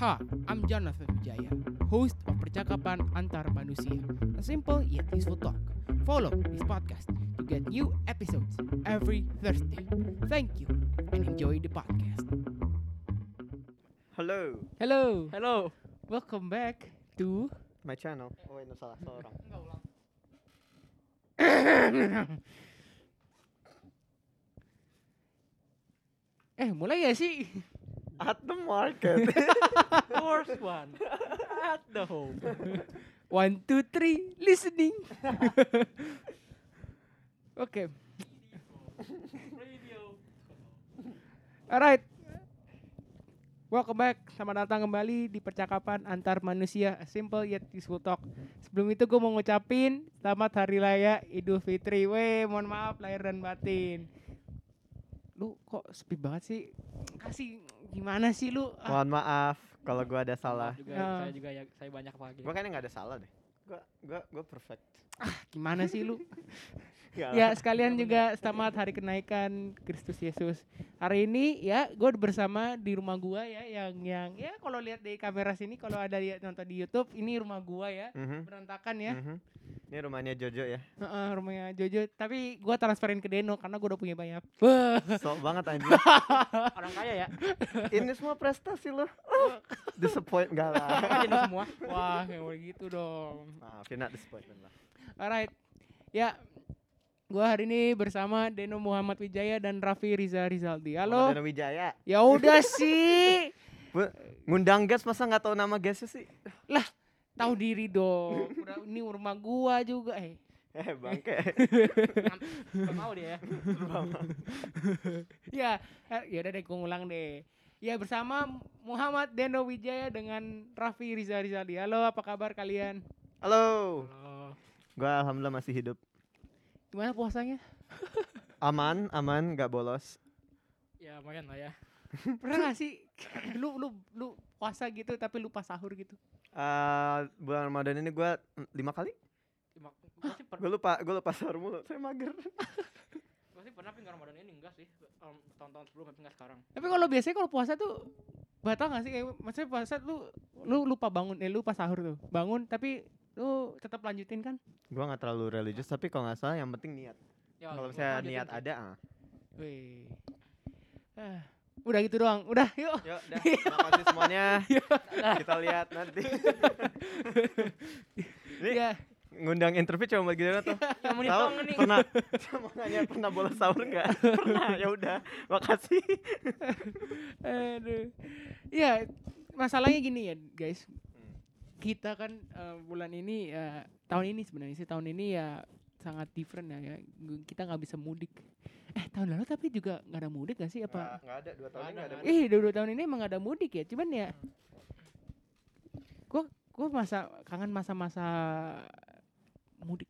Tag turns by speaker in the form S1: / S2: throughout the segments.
S1: Ha, I'm Jonathan Wijaya, host of Percakapan Antar Manusia, a simple yet useful talk. Follow this podcast to get new episodes every Thursday. Thank you and enjoy the podcast.
S2: Hello,
S1: Hello,
S3: Hello.
S1: welcome back to
S2: my channel. Oh wait, no salah, salah orang.
S1: Eh, mulai ya sih?
S2: At the market.
S3: Worst one. At the home.
S1: One, two, three, listening. Oke,
S3: Radio.
S1: Alright. Welcome back. Selamat datang kembali di percakapan antar manusia A Simple Yet Useful Talk. Sebelum itu gue mau ngucapin selamat hari raya Idul Fitri. Weh, mohon maaf lahir dan batin. Lu kok sepi banget sih? Kasih gimana sih lu? Ah,
S2: Mohon maaf kalau gua ada salah.
S3: Maaf Juga,
S1: Ya.
S3: Saya juga ya, saya banyak pagi.
S2: Gua kayaknya nggak ada salah deh. Gua gua gua perfect.
S1: gimana sih lu?
S2: Nggak
S1: ya
S2: lah.
S1: sekalian juga selamat hari kenaikan Kristus Yesus hari ini ya gue bersama di rumah gua ya yang yang ya kalau lihat dari kamera sini kalau ada lihat nonton di YouTube ini rumah gua ya
S2: Mhm,
S1: berantakan ya
S2: mhm. Ini rumahnya Jojo ya.
S1: Heeh, rumahnya Jojo tapi gua transferin ke Deno karena gua udah punya banyak
S2: Sok banget anjing.
S3: Orang kaya ya.
S2: Ini semua prestasi lo. Disappoint enggak lah.
S3: Aja semua.
S1: wah kayak gitu dong
S2: Maaf, you're not disappointment lah.
S1: alright ya gua hari ini bersama Deno Muhammad Wijaya dan Raffi Riza Rizaldi halo
S2: Ramadan Wijaya.
S1: ya udah sih
S2: Ngundang guest masa nggak tahu nama guestnya sih?
S1: tahu diri dong Udah, ini rumah gua juga eh
S2: Eh, bangke.
S3: Gak mau dia ya.
S1: ya ya udah deh gue ngulang deh ya bersama Muhammad Deno Wijaya dengan Raffi Riza Rizaldi halo apa kabar kalian
S2: Halo. Gua alhamdulillah masih hidup.
S1: gimana puasanya
S2: Aman, aman, nggak bolos.
S3: Ya lumayan lah ya.
S1: pernah gak sih lu lu lu puasa gitu tapi lupa sahur gitu
S2: Eh, bulan Ramadan ini gua mm, lima kali
S3: Cuma gue sih, per,
S2: Gue lupa, gue lupa sahur mulu. Saya mager.
S3: gua sih pernah pinggir Ramadan ini enggak sih. Em, tahun-tahun sebelum tapi enggak sekarang.
S1: tapi kalau biasanya kalau puasa tuh batal gak sih kayak maksudnya puasa lu lu lupa bangun eh lupa sahur tuh bangun tapi lu tetap lanjutin kan
S2: Gue nggak terlalu religius, tapi kalau nggak salah yang penting niat.
S3: Ya,
S2: Kalau
S3: gua
S2: misalnya
S3: lanjutin
S2: niat
S3: sih.
S2: ada, ah.
S1: Wih. Ah, udah gitu doang udah yuk
S2: Yuk, dah. Terima kasih semuanya. Kita lihat nanti. Ini
S1: ya
S2: ngundang interview cuma buat gitu tuh.
S3: Yang menit
S2: Tahu
S3: doang ini.
S2: pernah saya mau nanya pernah bolos sahur nggak? pernah. Ya udah. Makasih.
S1: Aduh. Ya, masalahnya gini ya, guys. Kita kan eh, bulan ini eh, tahun ini sebenarnya sih tahun ini ya sangat different ya. ya. Gu- Kita nggak bisa mudik. Eh, tahun lalu tapi juga nggak ada mudik gak sih apa?
S2: Enggak ada 2
S3: tahun ini Iya, nggak ada.
S1: Ih, dua, dua tahun ini emang nggak ada mudik ya. Cuman ya gua gua masa kangen masa-masa mudik.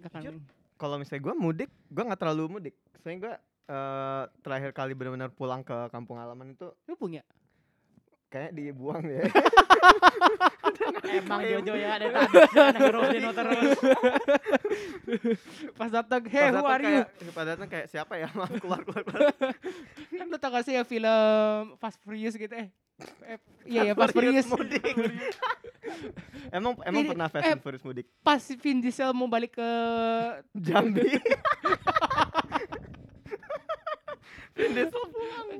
S1: Nggak
S2: Jujur?
S1: kangen.
S2: Kalau misalnya gue mudik, gue nggak terlalu mudik. Soalnya gue eh, terakhir kali benar-benar pulang ke kampung halaman itu
S1: Lu punya?
S2: kayak dibuang ya.
S3: Emang
S2: Klaim.
S3: Jojo ya dari tadi. Ngerus Deno terus.
S1: Pas datang, "Hey, who
S2: Padahal
S1: are you?"
S2: kayak- padahal tuh kayak siapa ya? Maaf keluar keluar. keluar.
S1: Kan lu tau gak sih ya film Fast Furious gitu eh. eh, Iya ya Fast Furious.
S2: mudik. emang emang
S1: Ini-
S2: pernah Fast
S1: eh,
S2: and Furious mudik?
S1: Pas Vin Diesel mau balik ke
S2: Jambi.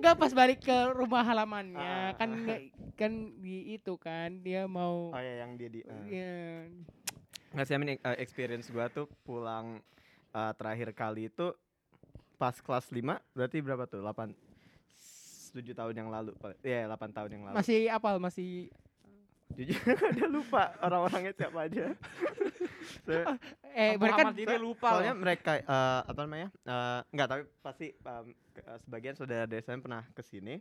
S1: enggak pas balik ke rumah halamannya
S2: Ah.
S1: kan nggak- kan di itu kan dia mau
S2: oh ya yang dia di. eh.
S1: ya.
S2: Nggak sih, I mean, eh, experience gua tuh pulang eh, terakhir kali itu pas kelas 5 berarti berapa tuh? 8 7 tahun yang lalu. Ya, 8 tahun yang lalu.
S1: masih apal masih
S2: Jujur ada lupa orang-orangnya siapa aja. So-
S1: eh
S3: Kampung
S1: mereka
S3: Ahmad Diri lupa
S2: soalnya
S3: loh.
S2: mereka eh, apa namanya eh, nggak tapi pasti em, ke- eh, sebagian saudara dari saya pernah kesini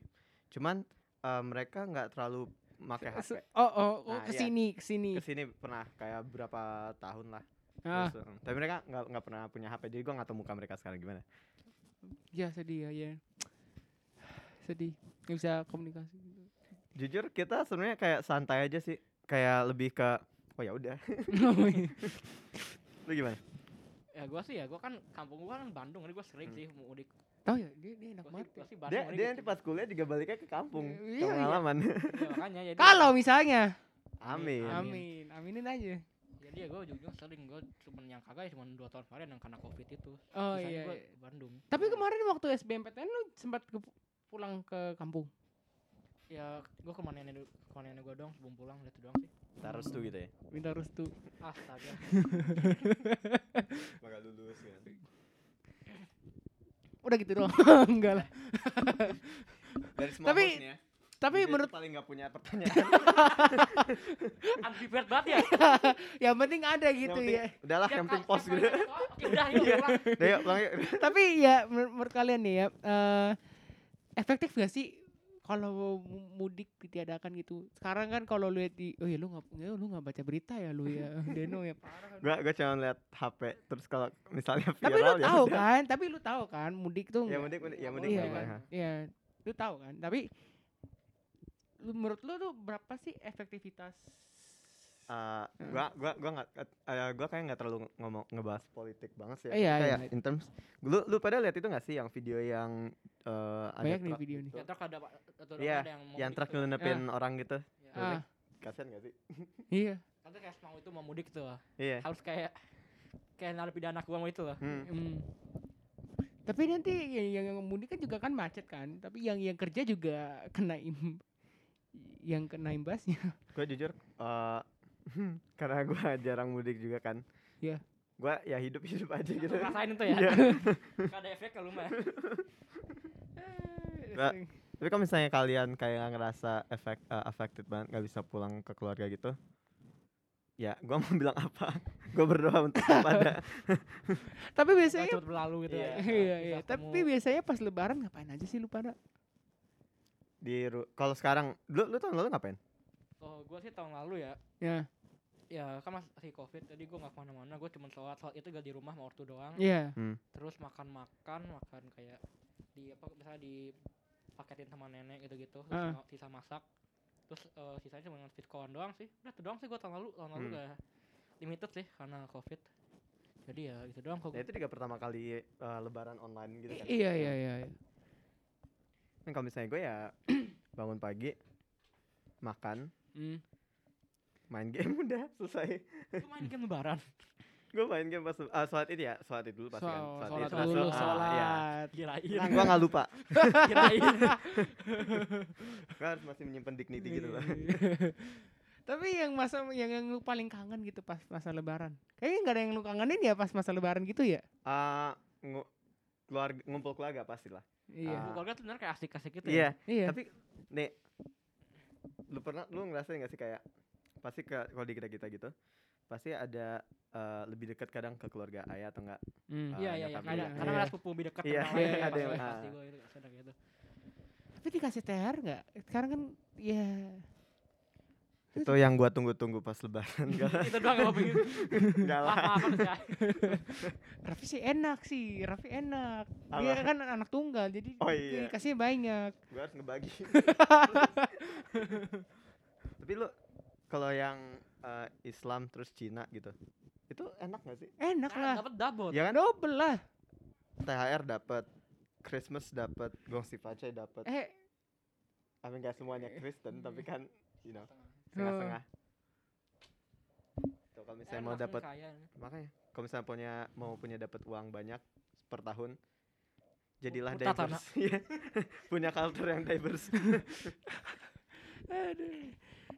S2: cuman eh, mereka nggak terlalu pakai HP
S1: oh oh, oh
S2: Nah, iya.
S1: kesini kesini
S2: kesini pernah kayak berapa tahun lah
S1: ah
S2: Terus, em, tapi mereka nggak nggak pernah punya HP jadi gua nggak tahu muka mereka sekarang gimana
S1: ya sedih ya ya sedih nggak bisa komunikasi
S2: jujur kita sebenarnya kayak santai aja sih kayak lebih ke oh ya udah lu gimana
S3: Ya gua sih ya, gua kan kampung gua kan Bandung, jadi gua sering sih mudik.
S1: Oh ya, dia, dia enak
S3: Gua
S1: banget.
S3: sih- gua
S1: ya.
S3: sih
S2: Hmm.
S3: bareng
S2: Dia
S3: sama
S2: dia
S3: gua
S2: nanti
S3: gitu.
S2: pas kuliah juga baliknya ke kampung,
S1: Iya,
S2: ke
S1: iya.
S2: pengalaman.
S3: Iya, makanya jadi
S1: Kalau misalnya,
S2: Iya,
S1: amin,
S2: Amin.
S3: Amin.
S1: aminin aja.
S3: jadi ya gue ujung-ujung sering gue cuman yang kagak ya cuman dua tahun kemarin yang karena covid itu
S1: Oh
S3: Sisanya
S1: iya.
S3: gua
S1: iya.
S3: ke Bandung
S1: Tapi kemarin waktu SBMPTN lu sempat ke, pulang ke kampung.
S3: ya gue ke mana nenek ke mana nenek gue doang sebelum pulang itu doang sih
S2: Taruh tuh gitu ya.
S1: Minta restu.
S3: astaga
S2: Bakal lulus kan.
S1: Udah gitu doang. Enggak lah.
S2: Dari semua
S1: Tapi-
S2: hostnya,
S1: Tapi
S2: dia tuh
S1: menurut
S2: paling nggak punya pertanyaan.
S3: unprepared banget ya
S1: yang penting ada gitu
S2: penting-
S1: ya.
S2: Udahlah,
S3: Tiap
S2: yang penting
S3: kali-
S2: pos
S3: tiap
S2: gitu.
S3: kali ada soal, oke udah yuk
S2: Iya.
S3: pulang.
S2: Udah yuk, pulang yuk.
S1: Tapi ya menur- menurut kalian nih ya, eh, efektif gak sih kalau mu- mudik ditiadakan gitu? Sekarang kan kalau lu lihat di, oh ya lu nggak, ya lu nggak baca berita ya lu ya, Deno ya parah.
S2: Gua gua cuma lihat HP. Terus kalau misalnya
S1: tapi lu
S2: viral ya.
S1: tahu
S2: udah.
S1: kan? Tapi lu tahu kan mudik tuh?
S2: Ya
S1: nggak-
S2: mudik, mudik, ya
S3: Iya,
S2: mudik
S1: Iya,
S2: nggak
S1: kan?
S2: boleh, ha.
S1: Iya. Lu tahu kan? Tapi lu, menurut lu tuh berapa sih efektivitas?
S2: Eh, gua gua gua nggak eh, gua kayak nggak terlalu ngomong ngebahas politik banget sih ya.
S1: Iya,
S2: Tapi
S1: iya.
S2: kayak in terms lu lu pada lihat itu nggak sih yang video yang eh, ada
S1: Banyak nih
S2: truk
S1: video nih.
S2: gitu,
S3: ya truk ada pak atau
S2: Iya,
S3: ada yang mau
S2: yang
S3: mudik
S2: truk
S3: tuh.
S2: nyelenepin orang gitu
S3: Ya,
S2: Ah.
S1: Ah,
S2: kasian gak sih
S1: iya.
S3: kan tuh kayak mau itu mau mudik tuh
S2: iya
S3: harus kayak kayak narapidana gua mau itu loh
S2: Hmm.
S1: Mm. Tapi nanti yang, yang, yang mudik kan juga kan macet kan. Tapi yang yang kerja juga kena im yang kena imbasnya.
S2: gue jujur eh, karena gue jarang mudik juga kan
S1: Iya.
S2: gue ya hidup hidup aja gitu
S3: rasain itu ya
S2: Iya.
S3: Gak ada efek kalau mah
S2: Nah, tapi kalau misalnya kalian kayak ngerasa efek eh, affected banget nggak bisa pulang ke keluarga gitu ya gue mau bilang apa gue berdoa untuk kepada
S1: Tapi
S3: Saya
S1: biasanya
S3: cepet berlalu gitu
S2: Iya.
S3: ya.
S1: iya,
S3: Bisa
S1: iya.
S3: ketemu.
S1: Tapi biasanya pas lebaran ngapain aja sih lu pada?
S2: di ru- kalau sekarang lu lu tahun lalu ngapain
S3: oh gua sih tahun lalu ya
S1: Ya,
S2: Hmm.
S3: ya kan masih covid tadi gua nggak kemana-mana gua cuma sholat sholat itu gak di rumah mau waktu doang
S1: iya.
S3: terus makan makan makan kayak di apa misalnya dipaketin sama nenek gitu gitu
S2: Ah.
S1: Heeh.
S3: sisa masak terus eh, sisanya cuma ngasih kawan doang sih udah itu doang sih gua tahun lalu tahun lalu
S2: Hmm.
S3: gak limited sih karena covid jadi ya gitu doang kok
S2: ya itu juga pertama kali eh, lebaran online gitu kan
S1: Iya, iya, iya. iya.
S2: Dan kalau misalnya gue ya bangun pagi makan
S1: Mm.
S2: main game udah selesai
S3: itu main game kan lebaran
S2: gue main game pas ah, sholat itu ya sholat itu dulu pasti kan
S1: Sholat sholat
S2: Id,
S1: dulu,
S2: ah, iya.
S1: sholat.
S3: kirain
S2: gue Nah, nggak lupa
S3: kirain
S2: gue harus masih menyimpan dignity gitu
S1: Iya.
S2: loh
S1: Tapi yang masa yang, yang lu paling kangen gitu pas masa lebaran. Kayaknya nggak ada yang lu kangenin ya pas masa lebaran gitu ya?
S2: Ah, ngu- keluarga ngumpul keluarga pasti lah
S1: Iya.
S2: Ah.
S3: keluarga tuh bener kayak asik-asik gitu ya
S2: iya
S1: Iya.
S2: tapi nih lu pernah lu ngerasain nggak sih kayak pasti ke kalau di kita kita gitu pasti ada eh, lebih dekat kadang ke keluarga ayah atau enggak
S1: Mm.
S2: Ah,
S3: Iya iya iya
S2: nyokap
S3: ada
S1: juga.
S3: karena
S1: Iya.
S3: ada sepupu lebih dekat
S2: Iya,
S3: sama
S1: iya,
S3: lain,
S1: iya,
S3: pasti-
S2: ada yang-
S3: pasti
S2: ah.
S3: gua itu- kadang gitu.
S1: Tapi dikasih THR nggak? Sekarang kan ya
S2: itu yang gua tunggu-tunggu pas lebaran enggak
S3: Itu doang yang gua pengen.
S2: enggak lah
S3: Apa-apa sih. ah.
S1: Raffi sih enak sih, Raffi enak. Dia
S2: Apa?
S1: kan anak tunggal jadi
S2: Oh,
S1: dia
S2: iya.
S1: dikasih banyak.
S2: gue harus ngebagi tapi lu kalau yang eh, Islam terus Cina gitu itu enak gak sih
S1: Enak
S3: Kan
S1: lah.
S3: dapat double.
S2: ya kan
S1: Double lah.
S2: THR dapat Christmas dapat gongsi pacai dapat
S1: Eh,
S2: tapi nggak semuanya Kristen tapi kan you know setengah-setengah
S1: setengah-setengah.
S2: Tuh, kalau misalnya mau
S3: Enak,
S2: dapat
S3: kaya.
S2: makanya kalau misalnya punya mau punya dapat uang banyak per tahun jadilah
S3: Putat,
S2: diverse Iya. punya culture yang diverse
S1: aduh.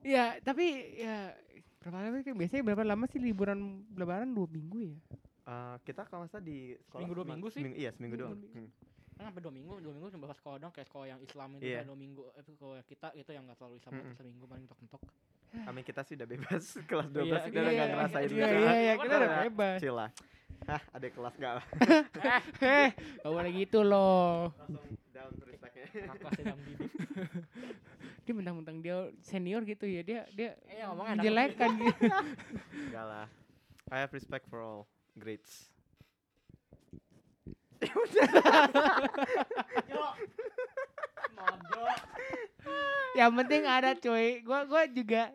S1: Ya, tapi ya berapa lama sih? Biasanya berapa lama sih liburan lebaran dua minggu ya?
S2: Eh, kita kalau nggak salah di sekolah
S3: Seminggu dua
S2: cuma
S3: minggu sih.
S2: seminggu- iya seminggu
S1: Iya,
S2: doang
S1: dua minggu.
S2: Hmm.
S3: Kan sampai dua minggu, dua minggu cuma bahas sekolah dong kayak sekolah yang Islam itu
S2: Iya.
S3: kayak dua minggu eh, sekolah kita itu yang nggak terlalu Islam
S2: Mm-mm.
S3: itu seminggu paling tok-tok.
S2: Amin Hmm. kita sih udah bebas kelas 12
S3: Iya,
S2: kita udah
S1: iya,
S2: nggak ngerasain
S1: Iya,
S2: gitu.
S1: iya, iya, kita
S2: Bener,
S1: udah
S2: ya.
S1: bebas.
S2: Chill lah. Hah, ada kelas nggak?
S3: Eh,
S1: Eh, gak boleh gitu loh.
S2: Langsung down respectnya.
S3: kenapa sih dalam didik?
S1: Dia mentang-mentang dia senior gitu ya, dia dia
S3: Eh, ngomong enak.
S1: menjelekan gitu.
S2: Enggak lah. I have respect for all grades.
S3: Yo. Mabok.
S1: yang penting ada cuy gua gua juga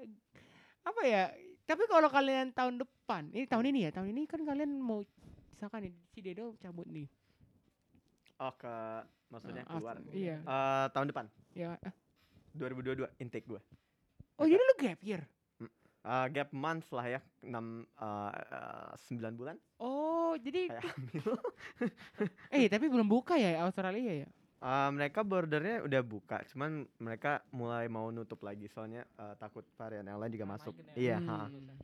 S1: apa ya tapi kalau kalian tahun depan ini tahun ini ya tahun ini kan kalian mau misalkan nih, si Dedo cabut nih
S2: Oh ke maksudnya
S1: Ah,
S2: keluar.
S1: Iya.
S2: Eh, tahun depan
S1: Ya.
S2: 2022 intake gue.
S1: Oh, jadi lu gap year.
S2: Eh, gap month lah ya 6 9 bulan
S1: Oh, jadi
S2: kayak hamil.
S1: eh tapi belum buka ya Australia ya?
S2: Eh, mereka bordernya udah buka, cuman mereka mulai mau nutup lagi soalnya eh, takut varian yang lain juga
S3: Sama
S2: masuk.
S3: aja
S2: Iya,
S1: Hmm.
S2: ha.
S3: gitu kan.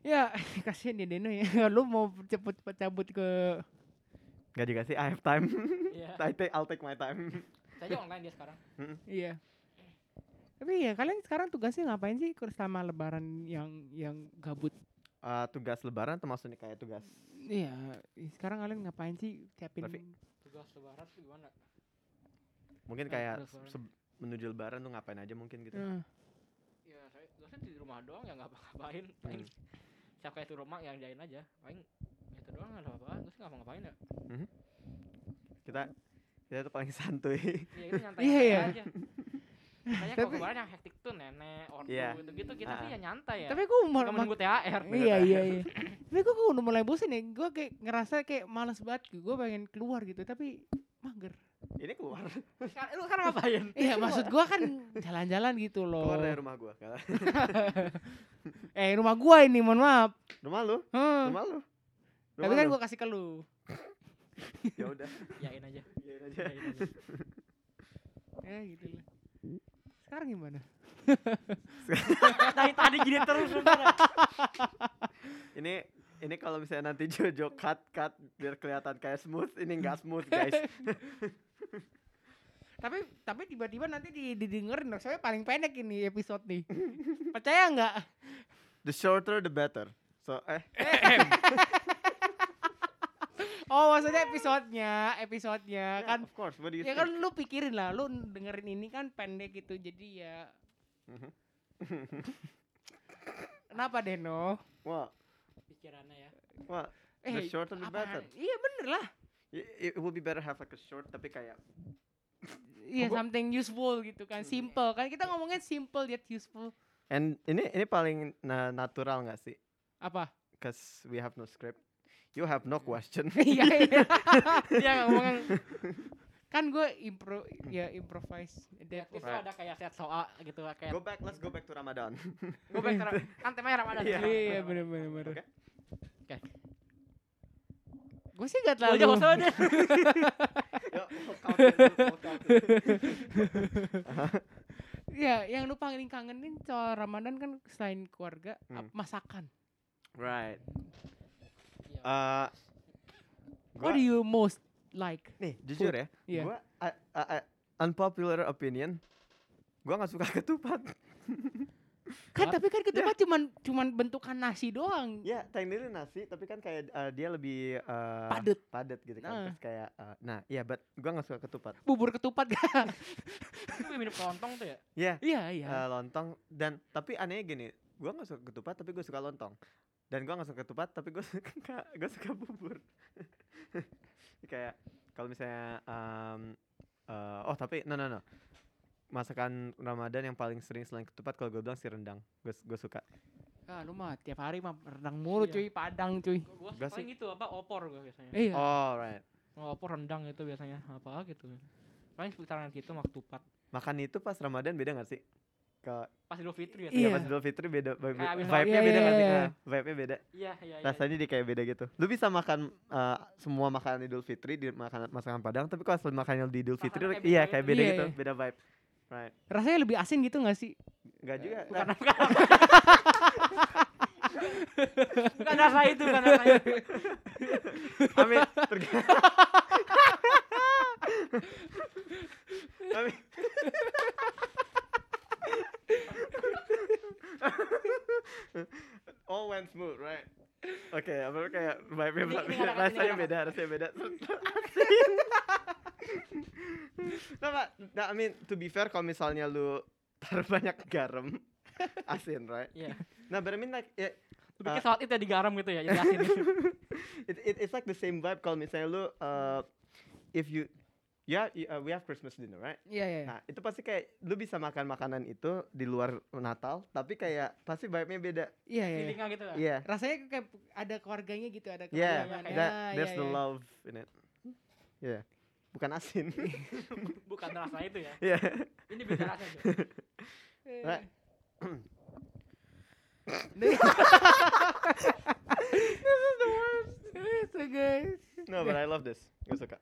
S1: Ya, kasihan ya Deno ya. Lu mau cepet-cepet cabut ke
S2: Gak dikasih I have time.
S3: Iya.
S2: I take, I'll take my time.
S3: Saya aja online dia sekarang.
S1: iya. Tapi ya kalian sekarang tugasnya ngapain sih kur- selama lebaran yang yang gabut?
S2: Eh, tugas lebaran termasuk nih kayak tugas
S1: Iya, sekarang kalian ngapain sih siapin
S2: Tapi-
S3: Tugas lebaran tuh gimana?
S2: mungkin
S3: Eh,
S2: kayak
S3: tugas lebaran.
S2: se- menuju lebaran tuh ngapain aja mungkin gitu.
S1: Eh,
S3: Ya, saya tugasnya di rumah doang ya nggak ngapain. Paling siapa itu rumah yang jain aja. Paling itu doang nggak ada apa-apa. Gue sih nggak ngapain ya.
S2: Kita kita tuh paling santuy.
S3: Iya, itu nyantai
S1: Iya, iya.
S3: aja. Makanya kalau
S1: Tapi-
S3: kemarin yang hektik tuh nenek, ortu
S2: Iya.
S3: gitu-gitu kita sih
S2: Ah.
S3: ya nyantai ya.
S1: Tapi gue mau
S3: Nggak menunggu THR.
S2: Menurut
S1: Iya
S2: saya.
S1: iya iya. Tapi gue udah mulai bosen ya. Gue kayak ngerasa kayak malas banget. Gue pengen keluar gitu tapi mager.
S2: Ini keluar
S3: Sekarang- Lu kan ngapain?
S1: Iya maksud gue kan jalan-jalan gitu loh.
S2: keluar dari rumah gua. Gak-
S1: Eh rumah gue ini mohon maaf.
S2: Rumah lu?
S1: Heh.
S2: Rumah lu?
S1: Tapi kan gue kasih ke lu.
S2: ya udah.
S3: Yain aja.
S2: Iyain aja.
S3: Yain aja.
S1: Ya gitu lah. Sekarang gimana?
S3: Dari tadi gini terus sebenarnya.
S2: Ini ini kalau misalnya nanti Jojo cut cut biar kelihatan kayak smooth, ini enggak smooth, guys.
S1: Tapi tapi tiba-tiba nanti di- didengerin dong. Soalnya paling pendek ini episode nih. Percaya nggak?
S2: The shorter the better. So eh
S1: Oh maksudnya episodenya, episodenya
S2: yeah,
S1: kan.
S2: of course. What do you
S1: Ya
S2: think?
S1: kan lu pikirin lah, lu dengerin ini kan pendek gitu. Jadi ya
S2: Mhm.
S1: Kenapa Deno?
S2: Wah,
S3: Pikirannya ya.
S2: wah, the shorter the better.
S1: Eh, apaan? Iya bener lah.
S2: It, it would be better have like a short tapi kayak
S1: Iya something useful gitu kan,
S2: Iya.
S1: simple kan kita ngomongin simple yet useful.
S2: and ini ini paling na- natural nggak sih?
S1: Apa?
S2: Cause we have no script. You have no question.
S1: Iya iya. Iya ngomongin kan gue impro ya improvise
S3: Di
S1: adapt.
S3: aktif tuh
S2: Right.
S3: ada kayak set soal gitu kayak
S2: go back, let's go back to Ramadan.
S3: gue pengen taruh- kan temanya Ramadan.
S2: Iya.
S1: Iya bener bener bener.
S2: Oke.
S3: Oke.
S1: Gue sih gak
S3: Lu aja
S1: terlalu.
S3: usah deh.
S2: Yo, we'll count it, we'll count it.
S1: Ya yang lu paling kangenin soal Ramadan kan selain keluarga
S2: Hmm.
S1: ap- masakan.
S2: right.
S1: Iya.
S2: Uh,
S1: What do you most like?
S2: Nih, jujur ya.
S1: Iya.
S2: Gua a- a- a- unpopular opinion. Gua nggak suka ketupat.
S1: Kan
S3: Hah?
S1: tapi kan ketupat cuman cuman bentukan nasi doang.
S2: Ya, technically nasi, tapi kan kayak uh, dia lebih uh,
S1: Padet.
S2: padet gitu kan.
S1: Nah.
S2: Terus kayak uh, nah, iya but gua nggak suka ketupat.
S1: Bubur ketupat gak?
S3: Gue minum kelontong tuh ya.
S2: Iya,
S1: Iya iya.
S2: uh, lontong dan tapi anehnya gini, gua nggak suka ketupat tapi gua suka lontong. Dan gua nggak suka ketupat tapi gua suka gua suka bubur. kayak kalau misalnya um, uh, oh tapi no no no. Masakan Ramadan yang paling sering selain ketupat kalau gue bilang si rendang. Gue gue suka.
S1: Ah, lu mah tiap hari mah rendang mulu
S3: Iya.
S1: cuy, padang cuy.
S3: Gue
S2: Gua
S3: paling itu apa opor gue biasanya.
S1: Iya.
S2: Oh, right.
S3: Eh. Oh, opor rendang itu biasanya apa gitu. Paling sekitaran gitu, itu waktu pat.
S2: Makan itu pas Ramadan beda gak sih? Ke
S3: Pas Idul Fitri
S1: Iya.
S2: ya pas Idul Fitri beda vibe-
S3: Kayak abis
S2: vibe-nya
S1: Iya,
S2: beda
S1: iya,
S2: gak sih?
S1: iya.
S2: Nah, Vibe-nya beda.
S3: Iya, iya, iya.
S2: Rasanya dia kayak beda gitu. Lu bisa makan eh, semua makanan Idul Fitri di makanan masakan Padang, tapi kalau asal makannya di Idul Fitri
S3: Rasanya kayak
S2: iya
S3: beda
S2: kayak
S1: gitu.
S2: beda
S1: Iya,
S2: gitu,
S1: iya.
S2: beda vibe. Right.
S1: Rasanya lebih asin gitu gak sih?
S2: Enggak juga.
S3: Bukan,
S2: Nah,
S3: bukan. bukan Kan rasa itu, bukan rasa itu.
S2: Amin. Terg- Amin. All went smooth, right? Oke, apa kayak vibe-nya
S3: Ini- ini
S2: beda,
S3: nggak ada- ini
S2: rasanya
S3: nggak ada.
S2: beda, rasanya beda. nah, Pak, nah, I mean, to be fair, kalau misalnya lu taruh banyak garam, asin, right?
S3: Iya.
S2: Nah, but I mean like, ya,
S3: Bikin saat itu ya digaram gitu ya, jadi asin.
S1: Iya.
S2: it, it, it's like the same vibe kalau misalnya lu uh, if you ya y- uh, we have Christmas dinner right
S1: Iya iya.
S2: nah itu pasti kayak lu bisa makan makanan itu di luar Natal tapi kayak pasti vibe-nya beda
S1: Iya iya.
S3: Feelingnya gitu lah.
S2: iya
S1: Rasanya kayak ada keluarganya gitu, ada
S2: yeah
S1: keluarganya.
S2: that there's
S1: iya,
S2: the
S1: iya.
S2: love in it Iya. Bukan asin.
S3: bukan rasa itu ya
S2: Iya.
S3: ini beda rasa cuy.
S1: Eh.
S2: Right.
S1: This is the worst. So guys,
S2: no, but I love this. Gue suka.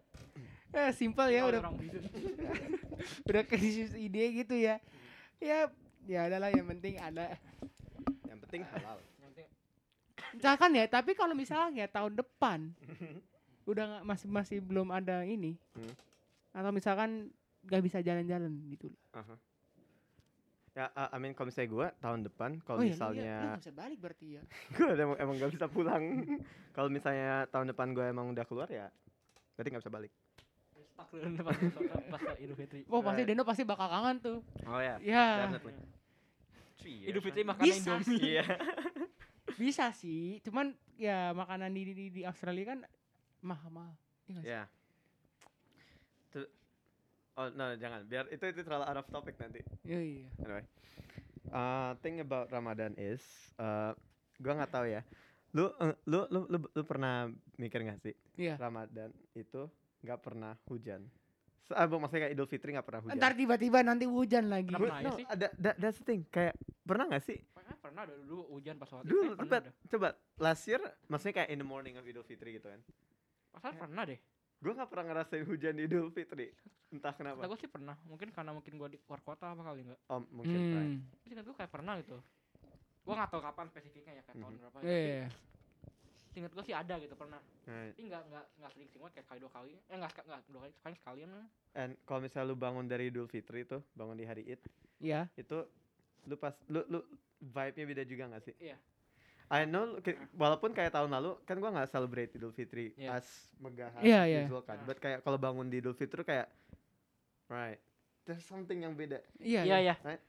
S1: eh, simple ya
S3: Kalau
S1: udah
S3: orang bisu
S1: udah kasih ide gitu
S2: Hmm.
S1: ya. Ya, ya adalah yang penting ada.
S2: Yang penting halal.
S3: nanti
S1: Misalkan ya, tapi kalau misalnya tahun depan udah nggak masih masih belum ada ini,
S2: Hmm.
S1: atau misalkan nggak bisa jalan-jalan gitu.
S2: Uh-huh. Ya, uh, I mean kalau misalnya gue tahun depan, kalau
S1: iya, lu- iya, lu
S2: misalnya Nah.
S1: nggak bisa balik berarti ya.
S2: gue emang emang gak bisa pulang. kalau misalnya tahun depan gue emang udah keluar ya, berarti gak bisa balik.
S3: stuck dulu nih pas pas- pas Idul Fitri
S1: Wah Oh, pasti
S2: Right.
S1: Deno pasti bakal kangen tuh.
S2: Oh ya.
S3: Iya.
S1: Ya,
S2: Definitely.
S3: Idul Fitri makan
S1: Bisa.
S3: Indomie
S2: kan? Iya.
S1: bisa sih. Cuman ya makanan di di, di Australia kan mahal-mahal. Iya nggak sih?
S2: Ya. Tuh- Oh, no, jangan. Biar itu itu terlalu out of topic nanti.
S1: Iya, iya.
S2: Anyway. Uh, thing about Ramadan is uh, gua nggak tahu ya. Lu, eh, lu lu lu lu pernah mikir nggak sih
S1: Iya.
S2: Ramadan itu nggak pernah hujan? Se- ah, bu- maksudnya kayak Idul Fitri nggak pernah hujan.
S1: Ntar tiba-tiba nanti hujan lagi.
S3: Kenapa?
S2: Gua-
S3: aja
S2: no,
S3: ya sih?
S2: ada that, that's the thing. Kayak pernah nggak sih?
S3: pernah pernah ada dulu hujan pas waktu
S2: Dulu
S3: pernah
S2: coba
S3: ada.
S2: coba last year maksudnya kayak in the morning of Idul Fitri gitu kan.
S3: Pasal pernah deh
S2: Gua nggak pernah ngerasain hujan di Idul Fitri. Entah
S3: kata
S2: kenapa.
S3: gue sih pernah mungkin karena mungkin gue di luar kota apa kali enggak
S2: Om mungkin. right.
S1: Hmm.
S3: tapi ingat gue kayak pernah gitu gue nggak tahu kapan spesifiknya ya kayak tahun
S2: Mhm.
S3: berapa
S1: Iya, iya, iya.
S3: ingat gue sih ada gitu pernah
S2: Right.
S3: tapi nggak nggak nggak sering sih gua kayak kali dua kali eh nggak seka- nggak dua kali sekali sekalian lah
S2: And kalau misalnya lu bangun dari Idul Fitri tuh, bangun di hari Id,
S1: Iya.
S2: itu lu pas lu lu vibe-nya beda juga gak sih?
S3: Iya.
S2: I know lu kayak- walaupun kayak tahun lalu kan gua nggak celebrate Idul Fitri
S3: Iya.
S2: as megah as
S1: Iya, iya.
S2: usual kan.
S3: Ah.
S2: But kayak kalau bangun di Idul Fitri tuh kayak right. There's something yang beda.
S1: Iya.
S3: iya
S1: iya.
S3: iya
S2: Right.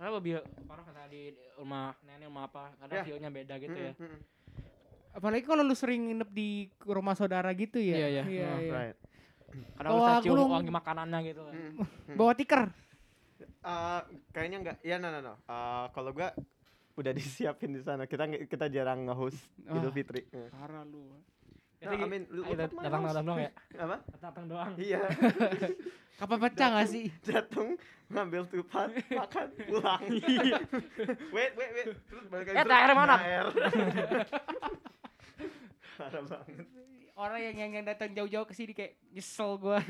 S3: karena lebih parah karena di rumah nenek rumah apa karena
S2: Iya.
S3: view-nya beda gitu ya
S2: Mm-mm, mm-mm.
S1: Apalagi kalau lu sering nginep di rumah saudara gitu ya.
S3: Iya, iya.
S1: Iya,
S3: Oh,
S1: iya.
S2: Hmm. Right.
S3: karena
S1: Kalau
S3: bisa
S1: aku
S3: cium
S1: lu-
S3: wangi makanannya gitu kan
S2: Mm.
S1: Bawa tikar.
S2: Ah, kayaknya nggak ya no no no. Ah, kalau gua udah disiapin di sana. Kita nggak- kita jarang nge-host Idul
S1: Ah.
S2: Fitri. Iya.
S1: Parah lu.
S3: Ya,
S2: No,
S3: sih,
S2: I mean, Nah, lu-
S3: ayo
S2: look at my
S3: datang
S2: house.
S3: datang doang ya
S2: Apa?
S3: datang doang ya.
S2: Iya.
S1: Kapan pecah gak sih?
S2: datang ngambil tupat makan pulang wait wait wait terus balik lagi
S3: Iya. Eh,
S2: terus,
S3: THR mana?
S2: THR. parah banget
S1: Orang yang yang, yang datang jauh-jauh ke sini kayak nyesel gua.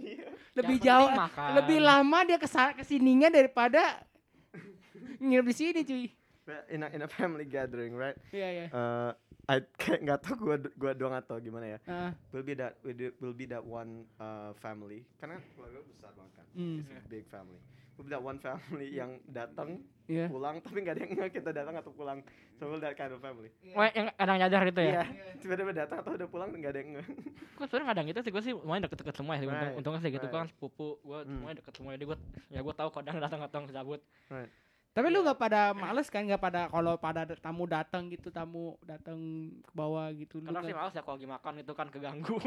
S2: iya
S1: lebih
S3: Yang
S1: jauh,
S3: penting makan.
S1: lebih lama dia kesal kesininya daripada nginep di sini cuy.
S2: But Nah, in a, in a family gathering right
S1: Iya, iya.
S2: Eh, I kayak nggak tau gua gua doang atau gimana ya
S1: Ah,
S2: will be that will be- will be that one uh, family karena keluarga besar banget kan
S1: Hmm.
S2: It's a big family will be that one family yang datang
S1: Iya.
S2: pulang tapi nggak ada yang ngeh kita datang atau pulang so we'll that kind of family
S3: Wah, yang kadang nyadar gitu ya.
S2: iya tiba-tiba datang atau udah pulang nggak ada yang ngeh.
S3: Gue sebenarnya kadang gitu sih, gue sih main deket-deket semua ya. sih. Untung,
S2: Right,
S3: untungnya sih gitu,
S2: right.
S3: gue kan sepupu, gue
S2: Hmm.
S3: semuanya deket semua. Jadi gue, ya gue tahu kadang datang atau cabut.
S1: Tapi lu nggak pada males kan nggak pada kalau pada ada tamu datang gitu tamu datang ke bawah gitu lu.
S3: Kadang sih
S1: nggak-
S3: males ya kalau lagi makan itu kan keganggu.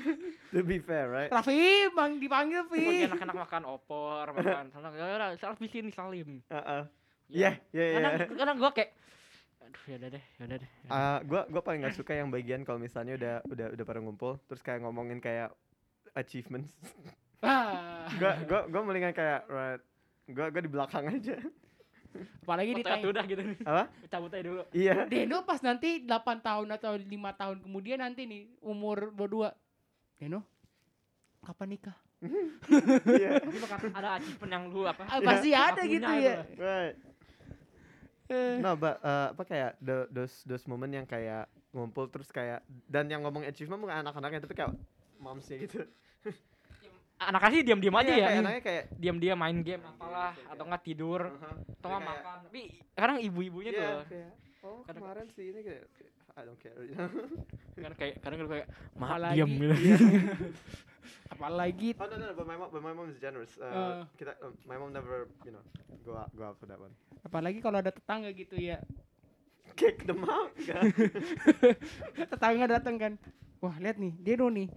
S2: to be fair right
S1: Raffi, bang dipanggil
S3: Lagi
S1: Fi.
S3: enak-enak makan opor, makan sana. Ya udah, salah di sini salim. Ya.
S2: Heeh. Iya, iya, iya.
S3: Kadang, kadang gue kayak, aduh ya udah deh, ya udah deh. ya udah.
S2: Ah, gua gua paling gak suka yang bagian kalau misalnya udah udah udah pada ngumpul terus kayak ngomongin kayak achievements.
S1: Ah,
S2: Gua gua gua mendingan kayak right. Gua gua di belakang aja.
S1: Apalagi
S3: Foto
S1: ditanya.
S3: itu udah gitu nih,
S2: Apa?
S3: cabut aja dulu.
S2: Iya.
S1: Deno pas nanti 8 tahun atau 5 tahun kemudian nanti nih umur 22. Deno kapan nikah?
S2: Iya.
S3: Tapi bakal ada achievement yang lu apa?
S1: Ah, pasti ada
S3: Aku
S1: gitu
S3: punya
S1: ya.
S3: itu.
S2: iya. Right.
S1: Eh,
S2: No, but, eh, apa kayak the, those those moment yang kayak ngumpul terus kayak dan yang ngomong achievement bukan anak-anaknya tapi kayak momsnya gitu.
S3: Anaknya sih diam-diam aja
S2: Iya,
S3: ya.
S2: Kayak anaknya kayak
S3: Diam-diam main game
S2: Main game,
S3: apalah,
S2: kayak-
S3: atau nggak tidur,
S2: uh-huh.
S3: atau
S2: Dia
S3: nggak
S2: kayak,
S3: makan. gitu Tapi kadang ibu-ibunya
S2: iya,
S3: tuh
S2: kayak, Oh,
S3: Kadang-
S2: kemarin sih ini kayak I don't care.
S3: kan kayak kadang gue kayak mahal
S1: Apalagi-
S3: diam gitu
S2: iya.
S1: apalagi
S2: Oh no no, no, but my mom, but my mom is generous. Uh,
S1: Uh.
S2: kita, um, my mom never, you know, go out, go out for that one.
S1: apalagi kalau ada tetangga gitu ya.
S2: Kick them out. kan?
S1: tetangga datang kan. Wah, lihat nih, Deno nih.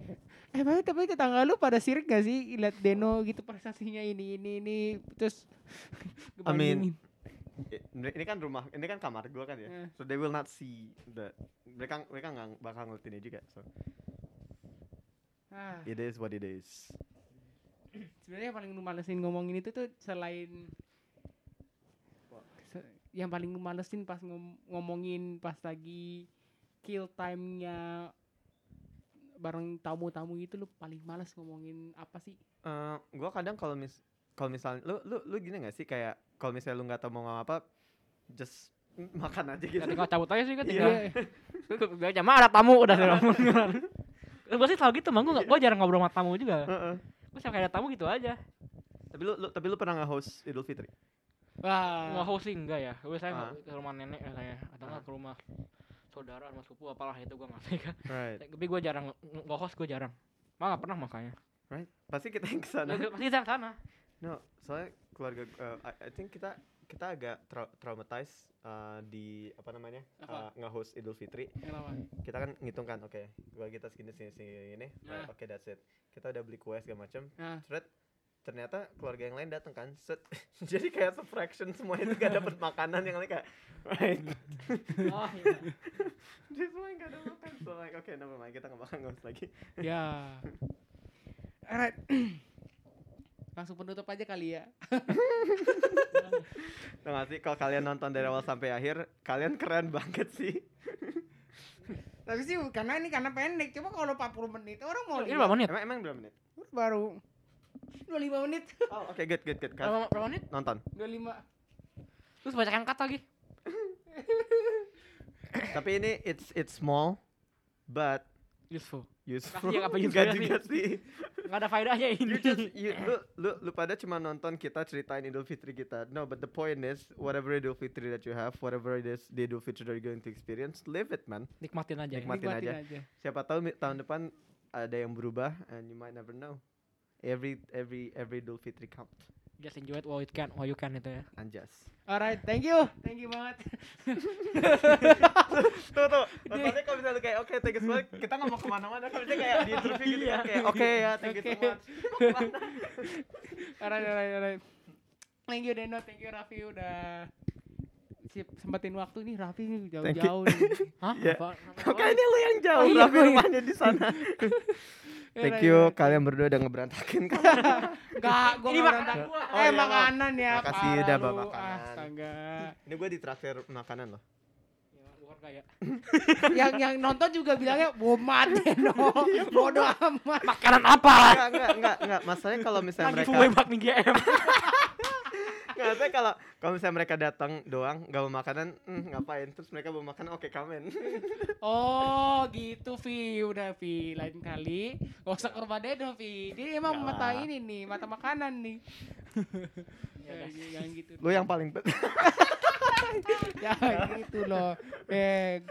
S1: Eh, tapi, tapi tetangga lu pada sirik gak sih lihat Deno gitu prestasinya ini ini ini terus
S2: Amin.
S1: ngebandingin.
S2: ini kan rumah, ini kan kamar gua kan ya.
S1: Eh.
S2: So they will not see the mereka mereka nggak bakal ngeliatin ini juga. So
S1: Ah,
S2: It is what it is.
S1: sebenarnya yang paling lu malesin ngomongin itu tuh selain se- yang paling lu malesin pas ngom- ngomongin pas lagi kill time-nya bareng tamu-tamu itu lu paling males ngomongin apa sih?
S2: Eh, gua kadang kalau mis kalau misalnya lu lu lu gini gak sih kayak kalau misalnya lu nggak tahu mau ngomong apa just m- makan aja gitu.
S3: Ya tinggal cabut aja sih kan
S2: Iya.
S3: tinggal. Gue aja marah tamu udah udah ngomong. Gue sih selalu gitu, manggung gue jarang ngobrol sama tamu juga.
S2: Heeh.
S3: Gue siapa ada tamu gitu aja.
S2: Tapi lu, lu tapi lu pernah nge-host Idul Fitri?
S3: Nggak
S1: Wah.
S3: host sih enggak ya. Gue
S2: Ah.
S3: saya ke rumah nenek katanya atau enggak
S2: Ah.
S3: ke rumah saudara sama sepupu apalah itu gue nggak tega.
S2: Right.
S3: Tapi gue jarang nggak host gue jarang. Malah nggak pernah makanya.
S2: Right. Pasti kita yang kesana.
S3: Pasti kita ke sana.
S2: No, soalnya keluarga eh, I, I think kita kita agak trau- traumatized eh, di apa namanya?
S1: Apa?
S2: eh, nge-host Idul Fitri.
S1: Kenapa?
S2: Kita kan ngitung kan, oke. Keluarga kita segini segini segini ini.
S1: Nah.
S2: Oke, that's it. Kita udah beli kue segala macam.
S1: Nah,
S2: Seret, ternyata keluarga yang lain datang kan set jadi kayak subtraction semua itu gak dapet makanan yang lain kayak right
S3: Oh iya.
S2: jadi semua gak ada makan so like okay never mind kita gak makan ngos lagi
S1: ya. Alright. Langsung penutup aja kali ya.
S2: tau gak sih kalau kalian nonton dari awal sampai akhir kalian keren banget sih
S1: Tapi sih karena ini karena pendek. Coba kalau 40 menit orang mau
S3: Ini
S1: lihat.
S3: berapa menit?
S2: emang emang berapa menit
S1: baru 25 menit
S2: oh oke good good good Kas-
S3: Berapa berapa menit?
S2: nonton
S1: 25
S3: Terus banyak yang kata lagi.
S2: tapi ini it's it's small but
S3: Useful.
S2: useful
S3: Iya, apa
S2: Nggak
S3: usefulnya
S2: juga sih
S3: Enggak ada faedahnya ini.
S2: you just you lu, lu lu pada cuma nonton kita ceritain Idul Fitri kita. No, but the point is whatever Idul Fitri that you have, whatever it is the Idul Fitri that you're going to experience, live it man.
S3: Nikmatin aja.
S2: Nikmat.
S3: Nikmat.
S2: Nikmatin aja. Siapa tahu mi- tahun depan ada yang berubah and you might never know. Every every every Idul Fitri count.
S3: Just enjoy it while you can, while you can itu ya.
S2: Anjas.
S1: Alright, thank you. Thank you banget.
S2: Tuh tuh. Maksudnya kalau misalnya kayak oke thank you so much, kita nggak mau kemana-mana. Kalau dia kayak di interview gitu kan kayak oke ya thank you so
S1: Oke.
S2: much.
S1: Alright, alright, alright. Thank you Deno, thank you Raffi udah sip- sempetin waktu nih Raffi nih
S2: Thank you.
S1: jauh-jauh. nih.
S3: Hah?
S2: Iya.
S3: Apa?
S2: Oke ini lu yang jauh,
S1: Oh, iya,
S2: Raffi
S1: gua ya.
S2: rumahnya di sana. Thank
S1: Alright,
S2: you
S1: alright.
S2: kalian berdua udah ngeberantakin kan.
S1: Enggak, gua
S3: Ini
S1: nggak
S3: makanan
S1: nonton.
S2: Oh,
S3: gua.
S1: eh
S2: iya, maaf.
S1: makanan ya.
S2: Makasih
S1: parah
S2: udah bawa
S1: lu.
S2: makanan.
S1: Astaga.
S2: Ini gue ditraktir makanan loh.
S3: Ya, bukan kayak
S1: yang yang nonton juga bilangnya bomat Deno. Bodoh amat.
S3: makanan apa lah?
S2: Enggak, enggak, enggak, enggak. Masalahnya kalau misalnya
S3: Lagi
S2: mereka
S3: full bak nih GM.
S2: Enggak, masalahnya kalau kalau misalnya mereka datang doang enggak bawa makanan, hmm, ngapain? Terus mereka bawa makanan, oke kamen.
S1: Oh gitu Vi, udah Vi lain kali gak usah ke rumah Dedo Vi. Dia emang
S2: Enggak
S1: mata
S2: lah.
S1: ini nih, mata makanan nih. Ya,
S3: Ya udah.
S1: jangan gitu.
S2: Lu yang paling bet.
S1: Jangan gitu loh. Eh.
S2: right,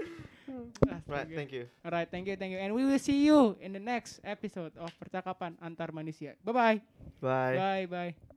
S1: astaga.
S2: thank you.
S1: Alright, thank you, thank you. And we will see you in the next episode of Percakapan Antar Manusia. Bye-bye.
S2: Bye.
S1: Bye-bye.